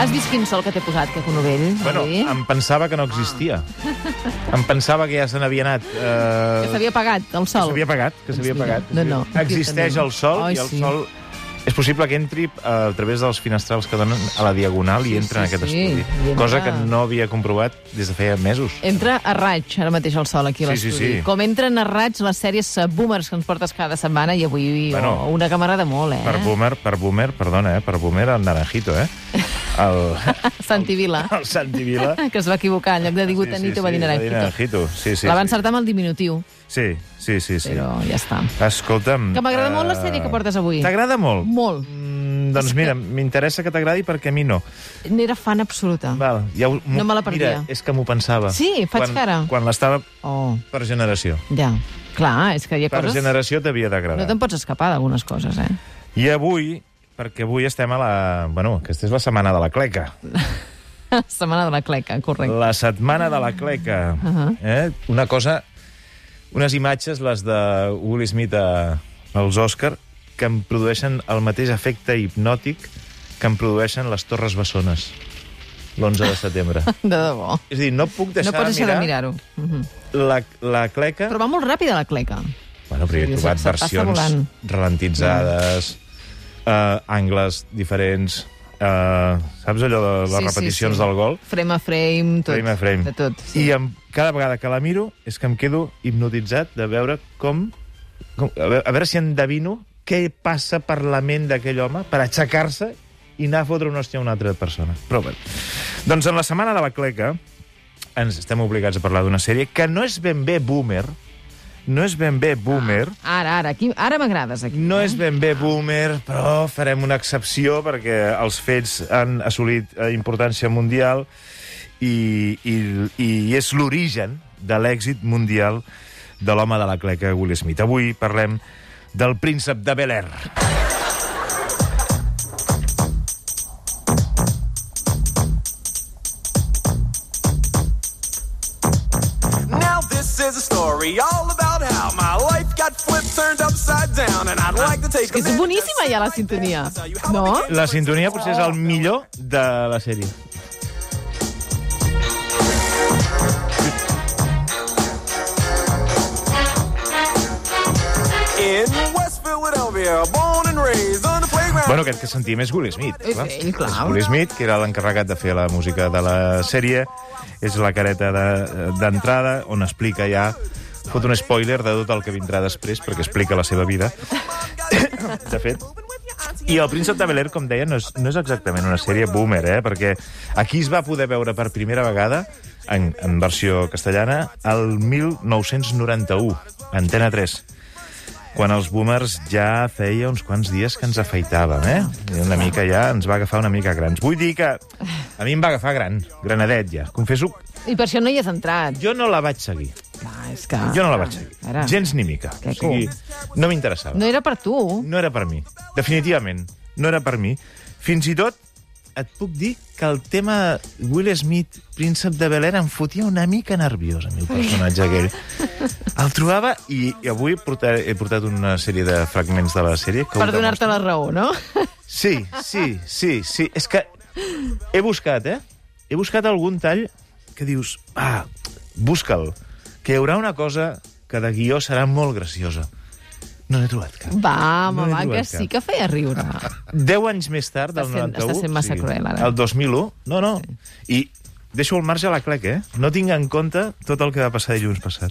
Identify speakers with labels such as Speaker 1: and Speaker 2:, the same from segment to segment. Speaker 1: Has vist quin sol que t'he posat, que conovell?
Speaker 2: Bueno,
Speaker 1: avui?
Speaker 2: em pensava que no existia. Em pensava que ja se n'havia anat. Eh,
Speaker 1: Que s'havia apagat, el sol.
Speaker 2: s'havia apagat, que s'havia
Speaker 1: Doncs mira,
Speaker 2: apagat. que
Speaker 1: no,
Speaker 2: s'havia-
Speaker 1: no, aquí
Speaker 2: Existeix
Speaker 1: també.
Speaker 2: el sol
Speaker 1: Ai,
Speaker 2: i el
Speaker 1: sí.
Speaker 2: sol... És possible que entri eh, a través dels finestrals que donen a la diagonal
Speaker 1: Sí,
Speaker 2: i entra en
Speaker 1: sí,
Speaker 2: aquest
Speaker 1: sí,
Speaker 2: estudi.
Speaker 1: i entra-
Speaker 2: Cosa que no havia comprovat des de feia mesos.
Speaker 1: Entra a raig, ara mateix el sol aquí a
Speaker 2: Sí,
Speaker 1: l'estudi.
Speaker 2: sí, sí.
Speaker 1: Com entren a raig les sèries eh, boomers que ens portes cada setmana i avui
Speaker 2: Bueno,
Speaker 1: oh, una que m'agrada molt, eh?
Speaker 2: Per boomer, per boomer, perdona, eh? per boomer el naranjito, eh? El,
Speaker 1: Santi Vila,
Speaker 2: el Santi Vila.
Speaker 1: que es va equivocar, en lloc de dir Gutanito va dir Naranjito.
Speaker 2: naranjito. Sí, sí,
Speaker 1: La va
Speaker 2: sí.
Speaker 1: encertar amb el diminutiu,
Speaker 2: Sí, sí, sí. sí.
Speaker 1: però ja està.
Speaker 2: Escolta'm...
Speaker 1: Que m'agrada
Speaker 2: eh,
Speaker 1: molt la sèrie que portes avui.
Speaker 2: T'agrada molt?
Speaker 1: Molt.
Speaker 2: Mm, doncs mira, m'interessa que t'agradi perquè a mi no.
Speaker 1: N'era fan absoluta.
Speaker 2: Val, ja ho, m'ho-
Speaker 1: No me la perdia.
Speaker 2: Mira, és que m'ho pensava.
Speaker 1: Sí, faig
Speaker 2: quan,
Speaker 1: cara.
Speaker 2: Quan l'estava
Speaker 1: Oh,
Speaker 2: per generació.
Speaker 1: ja. Clar, és que hi ha
Speaker 2: Per
Speaker 1: coses...
Speaker 2: generació t'havia
Speaker 1: No
Speaker 2: d'agradar.
Speaker 1: te'n pots escapar d'algunes coses, eh?
Speaker 2: I avui, perquè avui estem a la... Bueno, aquesta és la setmana de la cleca.
Speaker 1: Setmana de la cleca, correcte.
Speaker 2: La setmana de la cleca.
Speaker 1: Ah. Ahà.
Speaker 2: eh? Una cosa... Unes imatges, les de Will Smith a, als Òscar, que em produeixen el mateix efecte hipnòtic que em produeixen les Torres Bessones l'11 de setembre.
Speaker 1: De debò.
Speaker 2: És a dir, no puc deixar,
Speaker 1: no pots deixar
Speaker 2: de
Speaker 1: de
Speaker 2: mirar
Speaker 1: mirar-ho. Uh -huh.
Speaker 2: la, la cleca...
Speaker 1: Però va molt ràpida la cleca.
Speaker 2: Bueno, però
Speaker 1: Sí,
Speaker 2: hi he
Speaker 1: se-
Speaker 2: trobat
Speaker 1: se passa volant.
Speaker 2: versions ralentitzades, eh, angles diferents... Eh, saps allò de les
Speaker 1: Sí, sí,
Speaker 2: repeticions
Speaker 1: sí.
Speaker 2: del gol?
Speaker 1: Frame a frame, tot.
Speaker 2: frame a frame.
Speaker 1: De tot.
Speaker 2: I em, cada vegada que la miro és que em quedo hipnotitzat de veure com... com a, veure, a veure si endevino què passa per la ment d'aquell home per aixecar-se i anar a fotre un hòstia a una altra persona. Però bé. Doncs en la setmana de la cleca ens estem obligats a parlar d'una sèrie que no és ben bé boomer, no és ben bé boomer,
Speaker 1: Ara, ara, aquí, ara m'agrades aquí.
Speaker 2: no
Speaker 1: eh?
Speaker 2: és ben bé boomer, però farem una excepció perquè els fets han assolit eh, importància mundial i, i, i és l'origen de l'èxit mundial de l'home de la cleca Will Smith. Avui parlem del príncep de Bel Air.
Speaker 3: Now this is a story all about how my life got flipped, turned upside down, and I'd like to take.
Speaker 1: que és boníssima ja la sintonia, no?
Speaker 2: La sintonia potser és el millor de la sèrie.
Speaker 3: In West Philadelphia, born and raised on the playground.
Speaker 2: Bueno, aquest que sentim és Will Smith.
Speaker 1: És ell, clar.
Speaker 2: És Will Smith, que era l'encarregat de fer la música de la sèrie. És la careta de- d'entrada, on explica ja... Fot un spoiler de tot el que vindrà després, perquè explica la seva vida. de fet, i el príncep de Bel-Air, com deia, no és, no és exactament una sèrie boomer, eh? perquè aquí es va poder veure per primera vegada, en, en versió castellana, el 1991, Antena 3 quan els boomers ja feia uns quants dies que ens afeitàvem, eh? I una mica ja ens va agafar una mica grans. Vull dir que a mi em va agafar gran, granadet ja. Confesso,
Speaker 1: I per això no hi has entrat.
Speaker 2: jo no la vaig seguir.
Speaker 1: Clar, és que...
Speaker 2: Jo no la vaig seguir.
Speaker 1: Ah, Ara,
Speaker 2: Gens ni mica.
Speaker 1: Que
Speaker 2: O sigui, no m'interessava.
Speaker 1: no era per tu.
Speaker 2: No era per mi. Definitivament, no era per mi. Fins i tot et puc dir que el tema Will Smith, príncep de Bel Air, em fotia una mica nerviós, a mi, el personatge aquell. El trobava, i, i avui portaré, he portat una sèrie de fragments de la sèrie... Que ho
Speaker 1: Per donar-te
Speaker 2: demostren.
Speaker 1: la raó, no?
Speaker 2: Sí, sí, sí, sí. És que he buscat, eh? He buscat algun tall que dius, ah, busca'l, que hi haurà una cosa que de guió serà molt graciosa. No n'he trobat cap.
Speaker 1: Va, home,
Speaker 2: No he
Speaker 1: va,
Speaker 2: trobat
Speaker 1: que
Speaker 2: cap.
Speaker 1: sí que feia riure.
Speaker 2: 10 anys més tard, del
Speaker 1: Està sent-
Speaker 2: 91...
Speaker 1: està sent massa cruel, ara.
Speaker 2: El 2001, no, no. I deixo al marge la clec, eh? No tinc en compte tot el que va passar dilluns passat.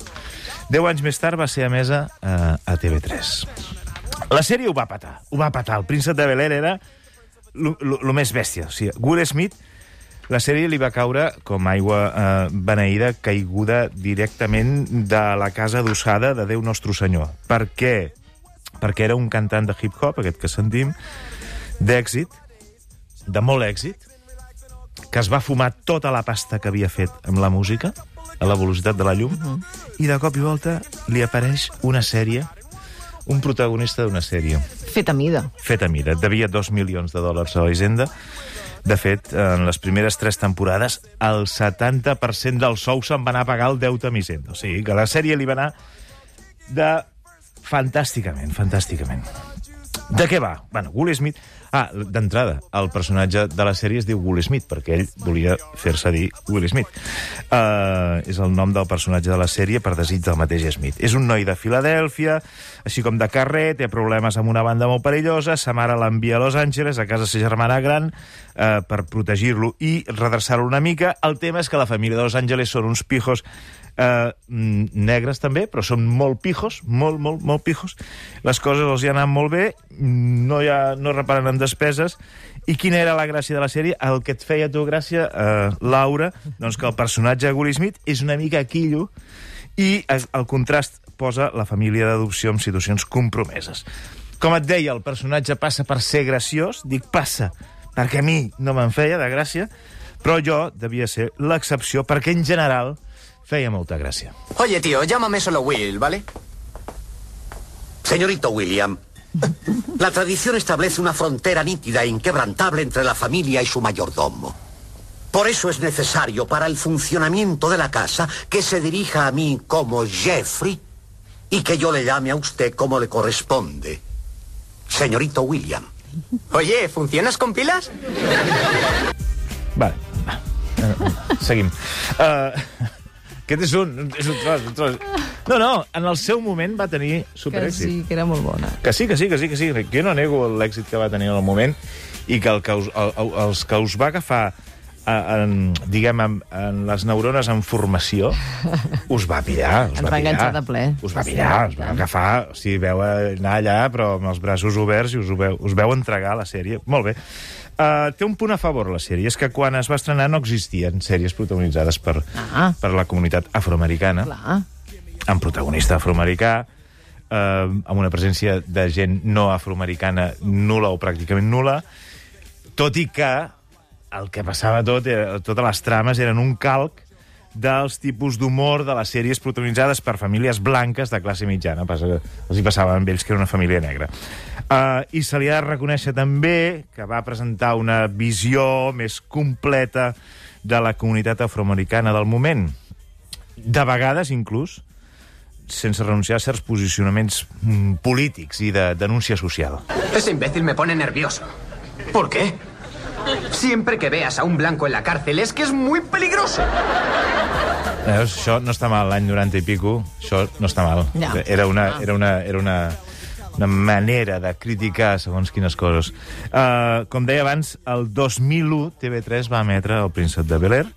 Speaker 2: 10 anys més tard va ser emesa a, a TV3. La sèrie ho va patar, ho va patar. El príncep de Bel-Air era el més bèstia. O sigui, Will Smith, la sèrie li va caure com aigua eh, beneïda, caiguda directament de la casa adossada de Déu Nostre Senyor. Per què? Perquè era un cantant de hip-hop, aquest que sentim, d'èxit, de molt èxit, que es va fumar tota la pasta que havia fet amb la música, a la velocitat de la llum, i de cop i volta li apareix una sèrie, un protagonista d'una sèrie
Speaker 1: Fet a mida.
Speaker 2: fet a mida. Et devia 2 milions de dòlars a la Hisenda. De fet, en les primeres tres temporades, el 70% del sou se'n va anar a pagar el deute amb Hisenda. O sigui, que la sèrie li va anar de... fantàsticament, fantàsticament. De què va? Bueno, Will Smith... Ah, d'entrada, el personatge de la sèrie es diu Will Smith, perquè ell volia fer-se dir Will Smith. Uh, és el nom del personatge de la sèrie per desig del mateix Smith. És un noi de Filadèlfia, així com de carrer, té problemes amb una banda molt perillosa, sa mare l'envia a Los Angeles, a casa sa germana gran, uh, per protegir-lo i redreçar-lo una mica. El tema és que la família de Los Angeles són uns pijos eh, mm, negres també, però són molt pijos, molt, molt, molt pijos. Les coses els hi han anat molt bé, mm, no, hi ha, no reparen en despeses, i quina era la gràcia de la sèrie? El que et feia a tu gràcia, eh, Laura, doncs que el personatge de Will Smith és una mica quillo i es- el contrast posa la família d'adopció en situacions compromeses. Com et deia, el personatge passa per ser graciós, dic passa, perquè a mi no me'n feia de gràcia, però jo devia ser l'excepció, perquè en general feia molta gràcia.
Speaker 4: Oye, tío, llámame solo Will, ¿vale?
Speaker 5: Señorito William,
Speaker 4: La tradición establece una frontera nítida e inquebrantable entre la familia y su mayordomo. Por eso es necesario para el funcionamiento de la casa que se dirija a mí como Jeffrey y que yo le llame a usted como le corresponde. Señorito William. Oye, ¿funcionas con pilas?
Speaker 2: Vale, va. Eh, Seguim. Uh, aquest és un, és un tros, un tros. No, no, en el seu moment va tenir
Speaker 1: Que
Speaker 2: superèxit.
Speaker 1: sí, que era molt bona.
Speaker 2: Que sí, que sí, que sí, que sí. que Jo no nego l'èxit que va tenir en el moment i que, el que us, el, el- els que us va agafar eh, en, diguem, en, en les neurones en formació, us va pillar. Us
Speaker 1: Ens va
Speaker 2: pillar.
Speaker 1: enganxar de ple.
Speaker 2: Us va
Speaker 1: Sí,
Speaker 2: pillar, us
Speaker 1: i
Speaker 2: va
Speaker 1: tant.
Speaker 2: agafar, o sigui, veu anar allà, però amb els braços oberts i us, ho veu, us veu entregar a la sèrie. Molt bé. Uh, té un punt a favor la sèrie, és que quan es va estrenar no existien sèries protagonitzades per,
Speaker 1: Ah.
Speaker 2: per la comunitat afroamericana
Speaker 1: Clar.
Speaker 2: amb protagonista afroamericà, eh, amb una presència de gent no afroamericana nula o pràcticament nula, tot i que el que passava tot, era, totes les trames eren un calc dels tipus d'humor de les sèries protagonitzades per famílies blanques de classe mitjana. Passa, els hi passava amb ells que era una família negra. Uh, I se li ha de reconèixer també que va presentar una visió més completa de la comunitat afroamericana del moment. De vegades, inclús, sense renunciar a certs posicionaments mm, polítics i de denúncia social.
Speaker 6: Ese imbécil me pone nervioso. ¿Por qué? Siempre que veas a un blanco en la cárcel es que es muy peligroso.
Speaker 2: Veus, això no està mal, l'any 90 i pico, això no està mal.
Speaker 1: Ja.
Speaker 2: Era, una, era, una, era una, una manera de criticar segons quines coses. Uh, com deia abans, el 2001 TV3 va emetre El príncep de Bel-Air,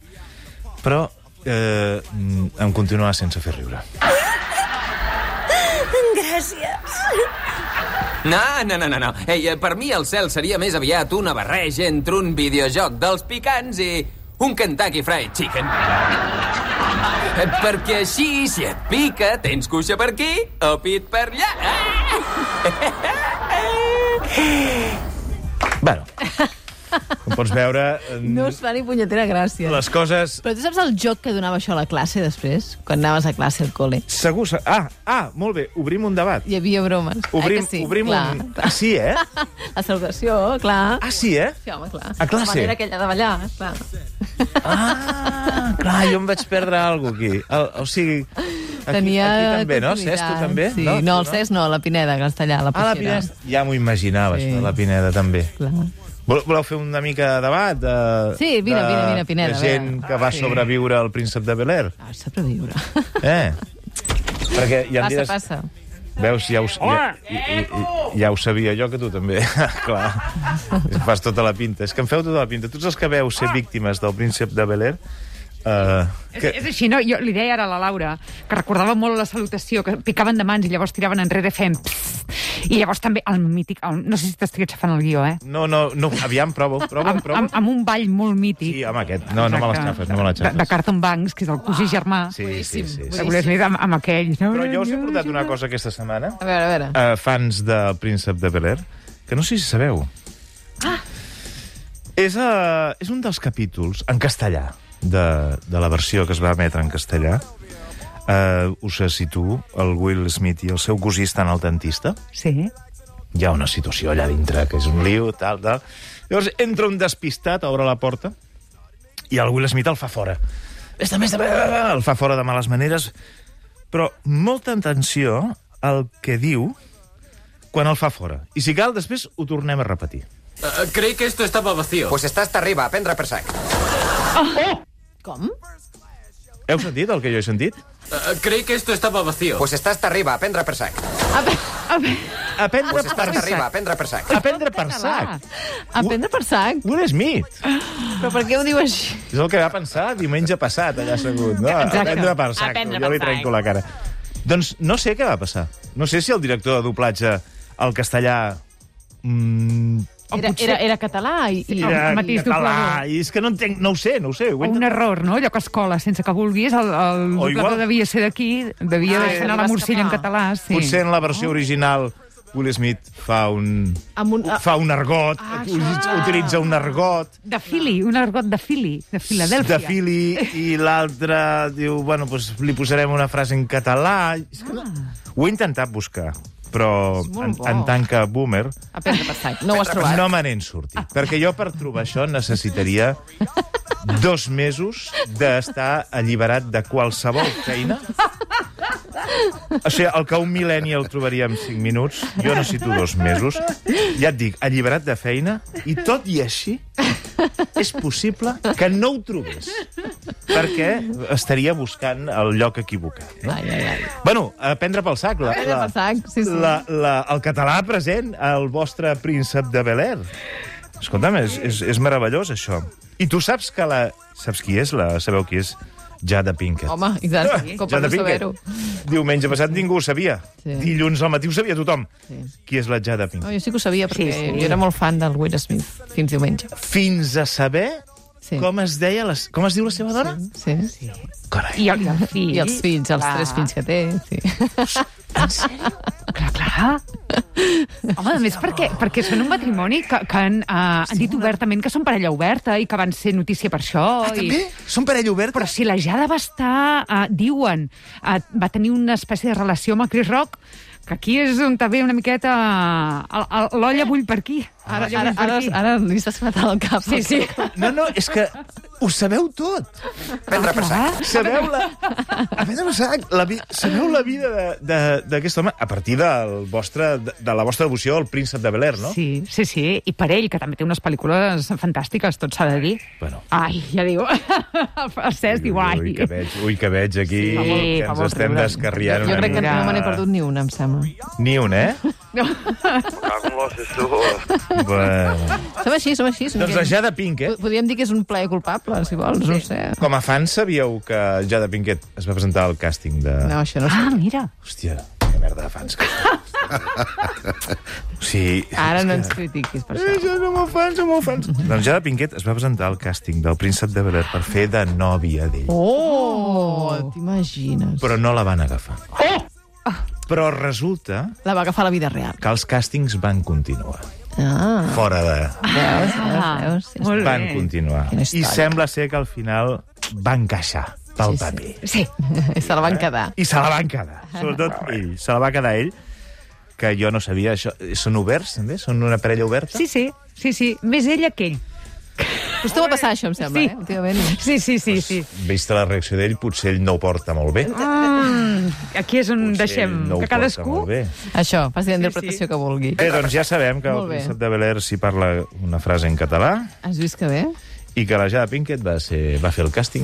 Speaker 2: però eh, mm, em continuava sense fer riure.
Speaker 6: No, Ah, no, no, no. no. Ei, eh, per mi el cel seria més aviat una barreja entre un videojoc dels picants i un Kentucky Fried Chicken. Eh, Perquè així, si et pica, tens cuixa per aquí o pit per allà. Ah!
Speaker 2: Bueno, com pots veure, eh,
Speaker 1: No es fa ni punyetera gràcia.
Speaker 2: les coses
Speaker 1: Però tu saps el joc que donava això a la classe després? Quan anaves a classe al col·le?
Speaker 2: Segur, se- ah, ah, molt bé, obrim un debat.
Speaker 1: Hi havia bromes.
Speaker 2: Obrim,
Speaker 1: eh que sí?
Speaker 2: obrim
Speaker 1: clar.
Speaker 2: un... Ah, sí, eh?
Speaker 1: La salutació, clar.
Speaker 2: Ah, sí, eh?
Speaker 1: Sí, home, clar.
Speaker 2: A classe?
Speaker 1: La manera aquella de ballar, eh, clar.
Speaker 2: Ah, clar, jo em vaig perdre alguna aquí. El, o sigui, aquí,
Speaker 1: Tenia
Speaker 2: aquí també, no?
Speaker 1: continuïtat.
Speaker 2: Cesc, tu també?
Speaker 1: Sí. No,
Speaker 2: tu
Speaker 1: no el Cesc no, la Pineda, que està allà, a la
Speaker 2: Ah,
Speaker 1: piscina.
Speaker 2: la Pineda. Ja m'ho imaginava,
Speaker 1: Sí.
Speaker 2: sí. la Pineda, també.
Speaker 1: Clar.
Speaker 2: Vol- Voleu fer una mica de debat? De,
Speaker 1: Sí, vine,
Speaker 2: de-
Speaker 1: vine, vine, Pineda,
Speaker 2: De gent
Speaker 1: vine.
Speaker 2: que va
Speaker 1: Sí.
Speaker 2: sobreviure al príncep de Bel-Air.
Speaker 1: Ah, s'ha de viure.
Speaker 2: Eh? Perquè ja em
Speaker 1: Passa,
Speaker 2: diràs...
Speaker 1: passa.
Speaker 2: Veus, ja ho, ja, ja, ja ho sabia jo que tu també, clar. Fas tota la pinta. És que em feu tota la pinta. Tots els que veu ser víctimes del príncep de Bel-Air... Uh,
Speaker 7: Que... És així, no? Jo li deia ara a la Laura que recordava molt la salutació, que picaven de mans i llavors tiraven enrere fent... pss, I llavors també el mític... El, no sé si t'estic aixafant el guió, eh?
Speaker 2: no, no, no, aviam, provo, provo,
Speaker 7: Amb,
Speaker 2: provo.
Speaker 7: amb, amb un ball molt mític.
Speaker 2: Sí, amb aquest. No, no me
Speaker 7: Exacte.
Speaker 2: l'exafes, no me
Speaker 7: De, de
Speaker 2: l'exafes.
Speaker 7: Carton Banks, que és el cosí germà. Sí.
Speaker 2: Ah, Sí, sí, sí,
Speaker 7: De
Speaker 2: sí.
Speaker 7: Will Smith amb, amb aquell. No?
Speaker 2: Però jo us he portat una cosa aquesta setmana.
Speaker 1: A veure, a
Speaker 2: Ah.
Speaker 1: veure.
Speaker 2: Eh, Uh, fans del príncep de Bel-Air, que no sé si sabeu. És, uh, és un dels capítols en castellà de, de la versió que es va emetre en castellà. Uh, us situo, el Will Smith i el seu cosí estan al dentista.
Speaker 7: Sí.
Speaker 2: Hi ha una situació allà dintre que és un lío, tal, tal. Llavors entra un despistat, obre la porta, i el Will Smith el fa fora. Vés-te, vés-te, va, va, va, el fa fora de males maneres. Però molta atenció al que diu quan el fa fora. I si cal, després ho tornem a repetir.
Speaker 8: creí que esto estaba vacío. Eh,
Speaker 5: Pues està hasta arriba, a prendre per sac.
Speaker 1: Com?
Speaker 2: Heu sentit el que jo he sentit?
Speaker 8: eh, creí que esto estaba vacío.
Speaker 5: Pues està hasta arriba, a prendre per sac.
Speaker 2: A prendre
Speaker 5: Pues està
Speaker 2: per
Speaker 5: hasta arriba, a prendre per sac.
Speaker 2: A prendre per sac.
Speaker 1: A prendre per sac?
Speaker 2: Will Smith.
Speaker 1: Però per què ho diu així?
Speaker 2: És el que va pensar diumenge passat, allà assegut. No? A prendre per sac.
Speaker 1: A prendre
Speaker 2: jo
Speaker 1: per
Speaker 2: li
Speaker 1: sac.
Speaker 2: trenco la cara. Doncs no sé què va passar. No sé si el director de doblatge al castellà... Mm, o
Speaker 1: Era,
Speaker 2: potser
Speaker 1: era, era català i... i...
Speaker 7: Era- el mateix
Speaker 2: català.
Speaker 7: doblador.
Speaker 2: I és que no entenc, no ho sé, no ho sé. Ho
Speaker 7: O
Speaker 2: he
Speaker 7: un
Speaker 2: intentat-
Speaker 7: error, no? Allò que es cola sense que vulguis, el, el
Speaker 2: O
Speaker 7: doblador
Speaker 2: igual-
Speaker 7: devia ser d'aquí, devia
Speaker 1: Ah,
Speaker 7: ah, deixar anar
Speaker 1: va
Speaker 7: la morcilla en
Speaker 1: escapar.
Speaker 7: català, sí. Oh.
Speaker 2: Potser en la versió original Will Smith fa un...
Speaker 1: Amb un-
Speaker 2: Fa un argot, ah, utilitza un argot
Speaker 7: De Philly, un argot de Philly, de Filadèlfia.
Speaker 2: de Philly, i l'altre diu, bueno, doncs li posarem una frase en català. És que no- Ho he intentat buscar, però
Speaker 1: Ah. molt
Speaker 2: en,
Speaker 1: bo.
Speaker 2: en tant que boomer
Speaker 1: A prendre per sac. No ho has trobat. Ah.
Speaker 2: no me n'he sortit. Perquè jo per trobar això necessitaria dos mesos d'estar alliberat de qualsevol feina. O sigui, el que un millennial trobaria en 5 minuts, jo necessito dos mesos. Ja et dic, alliberat de feina, i tot i així és possible que no ho trobés, perquè estaria buscant el lloc equivocat. No?
Speaker 1: Ai, ai, ai.
Speaker 2: Bueno, a prendre pel sac. La,
Speaker 1: prendre pel sac, sí, sí.
Speaker 2: La, la, el català present al vostre príncep de Bel Air. Escolta'm, és, és, és meravellós, això. I tu saps que la... Saps qui és? La, sabeu qui és? Jada Pinkett.
Speaker 1: Home, i tant, com per
Speaker 2: Jada
Speaker 1: no saber-ho.
Speaker 2: Diumenge passat ningú ho sabia.
Speaker 1: Sí.
Speaker 2: Sí. Dilluns al matí ho sabia tothom. Sí. Qui és la Jada
Speaker 1: No,
Speaker 2: Pinkett.
Speaker 1: jo sí que ho sabia, perquè sí, sí. jo era molt fan del Will Smith fins diumenge.
Speaker 2: Fins a saber
Speaker 1: Sí.
Speaker 2: sí. com es deia... Les, com es diu la seva dona?
Speaker 1: Sí. sí.
Speaker 2: Sí. Carai.
Speaker 7: I, el, i, el fill,
Speaker 1: I els fills, els
Speaker 7: clar.
Speaker 1: tres fills que té. Sí.
Speaker 7: Clar, clar. Home, a més, perquè, perquè són un matrimoni que, que han, uh, han dit obertament que són parella oberta i que van ser notícia per això. Ah, i...
Speaker 2: També? Són parella oberta?
Speaker 7: Però si la Jada va estar, uh, diuen, uh, va tenir una espècie de relació amb el Chris Rock, que aquí és on també una miqueta eh, el- el- l'olla bull per aquí.
Speaker 2: Ah,
Speaker 1: Ara,
Speaker 7: L'olla
Speaker 1: ara,
Speaker 7: bull per
Speaker 1: ara,
Speaker 7: aquí.
Speaker 1: ara li s'ha esclatat el cap. Sí, sí.
Speaker 2: No, no, és que ho sabeu tot.
Speaker 5: Prendre per sac.
Speaker 2: Sabeu la... A veure, sac, la vi... sabeu la vida de- de- d'aquest home a partir del vostre, de, de la vostra devoció al príncep de Bel Air, no?
Speaker 7: Sí, sí, sí. I per ell, que també té unes pel·lícules fantàstiques, tot s'ha de dir.
Speaker 2: Bueno.
Speaker 7: Ai, ja diu... El francès diu, ai...
Speaker 2: Ui, que veig, ui, que veig aquí,
Speaker 7: Sí,
Speaker 2: que
Speaker 7: fa
Speaker 2: ens
Speaker 7: molt
Speaker 2: estem
Speaker 7: riure.
Speaker 2: descarriant
Speaker 1: Jo
Speaker 2: una
Speaker 1: crec que
Speaker 2: mica.
Speaker 1: no me n'he perdut ni una, em sembla.
Speaker 2: Ni un, eh? bueno.
Speaker 1: Som així, som així. Som
Speaker 2: Doncs la Jada Pinkett,
Speaker 1: Podríem dir que és un plaer culpable, si vols, no ho sé.
Speaker 2: com a fan, sabíeu que Jada Pinkett es va presentar al càsting de...
Speaker 1: No, això no ho sé.
Speaker 7: Ah, mira.
Speaker 2: Hòstia, que merda de fans que són. o sigui,
Speaker 1: Ara no ens critiquis per això.
Speaker 2: Això som molt fans, som molt fans. Doncs Jada Pinkett es va presentar al càsting del príncep de Bel-Air per fer de nòvia d'ell.
Speaker 1: Oh, t'imagines.
Speaker 2: Però no la van agafar. Oh! Però resulta
Speaker 1: La va agafar la vida real.
Speaker 2: que els càstings van continuar.
Speaker 1: Ah,
Speaker 2: Fora de...
Speaker 1: veus,
Speaker 2: Ah,
Speaker 1: veus, veus.
Speaker 7: Ah, Molt
Speaker 2: Van
Speaker 7: bé.
Speaker 2: continuar.
Speaker 1: Quina
Speaker 2: I
Speaker 1: història.
Speaker 2: sembla ser que al final va encaixar pel
Speaker 1: Sí, sí.
Speaker 2: sí, paper.
Speaker 7: Sí.
Speaker 1: Se la van quedar.
Speaker 2: I se la van quedar. Sobretot ell. Se la va quedar ell, que jo no sabia això. Són oberts, també? Són una parella oberta?
Speaker 7: Sí, sí, sí, sí. Més ella que ell.
Speaker 1: Acostuma a passar això, em sembla,
Speaker 7: Sí.
Speaker 1: eh? Últimament.
Speaker 7: Sí, sí, sí, sí.
Speaker 2: Vista la reacció d'ell, potser ell no ho porta molt bé.
Speaker 7: Aquí és on
Speaker 2: Potser
Speaker 7: deixem
Speaker 2: ell no ho
Speaker 7: que
Speaker 2: porta
Speaker 7: cadascú...
Speaker 2: molt bé.
Speaker 1: Això, faci la interpretació que vulgui.
Speaker 2: Bé, doncs ja sabem que el
Speaker 1: Molt bé.
Speaker 2: príncep de Bel Air s'hi parla una frase en català
Speaker 1: Has vist que bé?
Speaker 2: i que la Jada Pinkett va, ser, va fer el càsting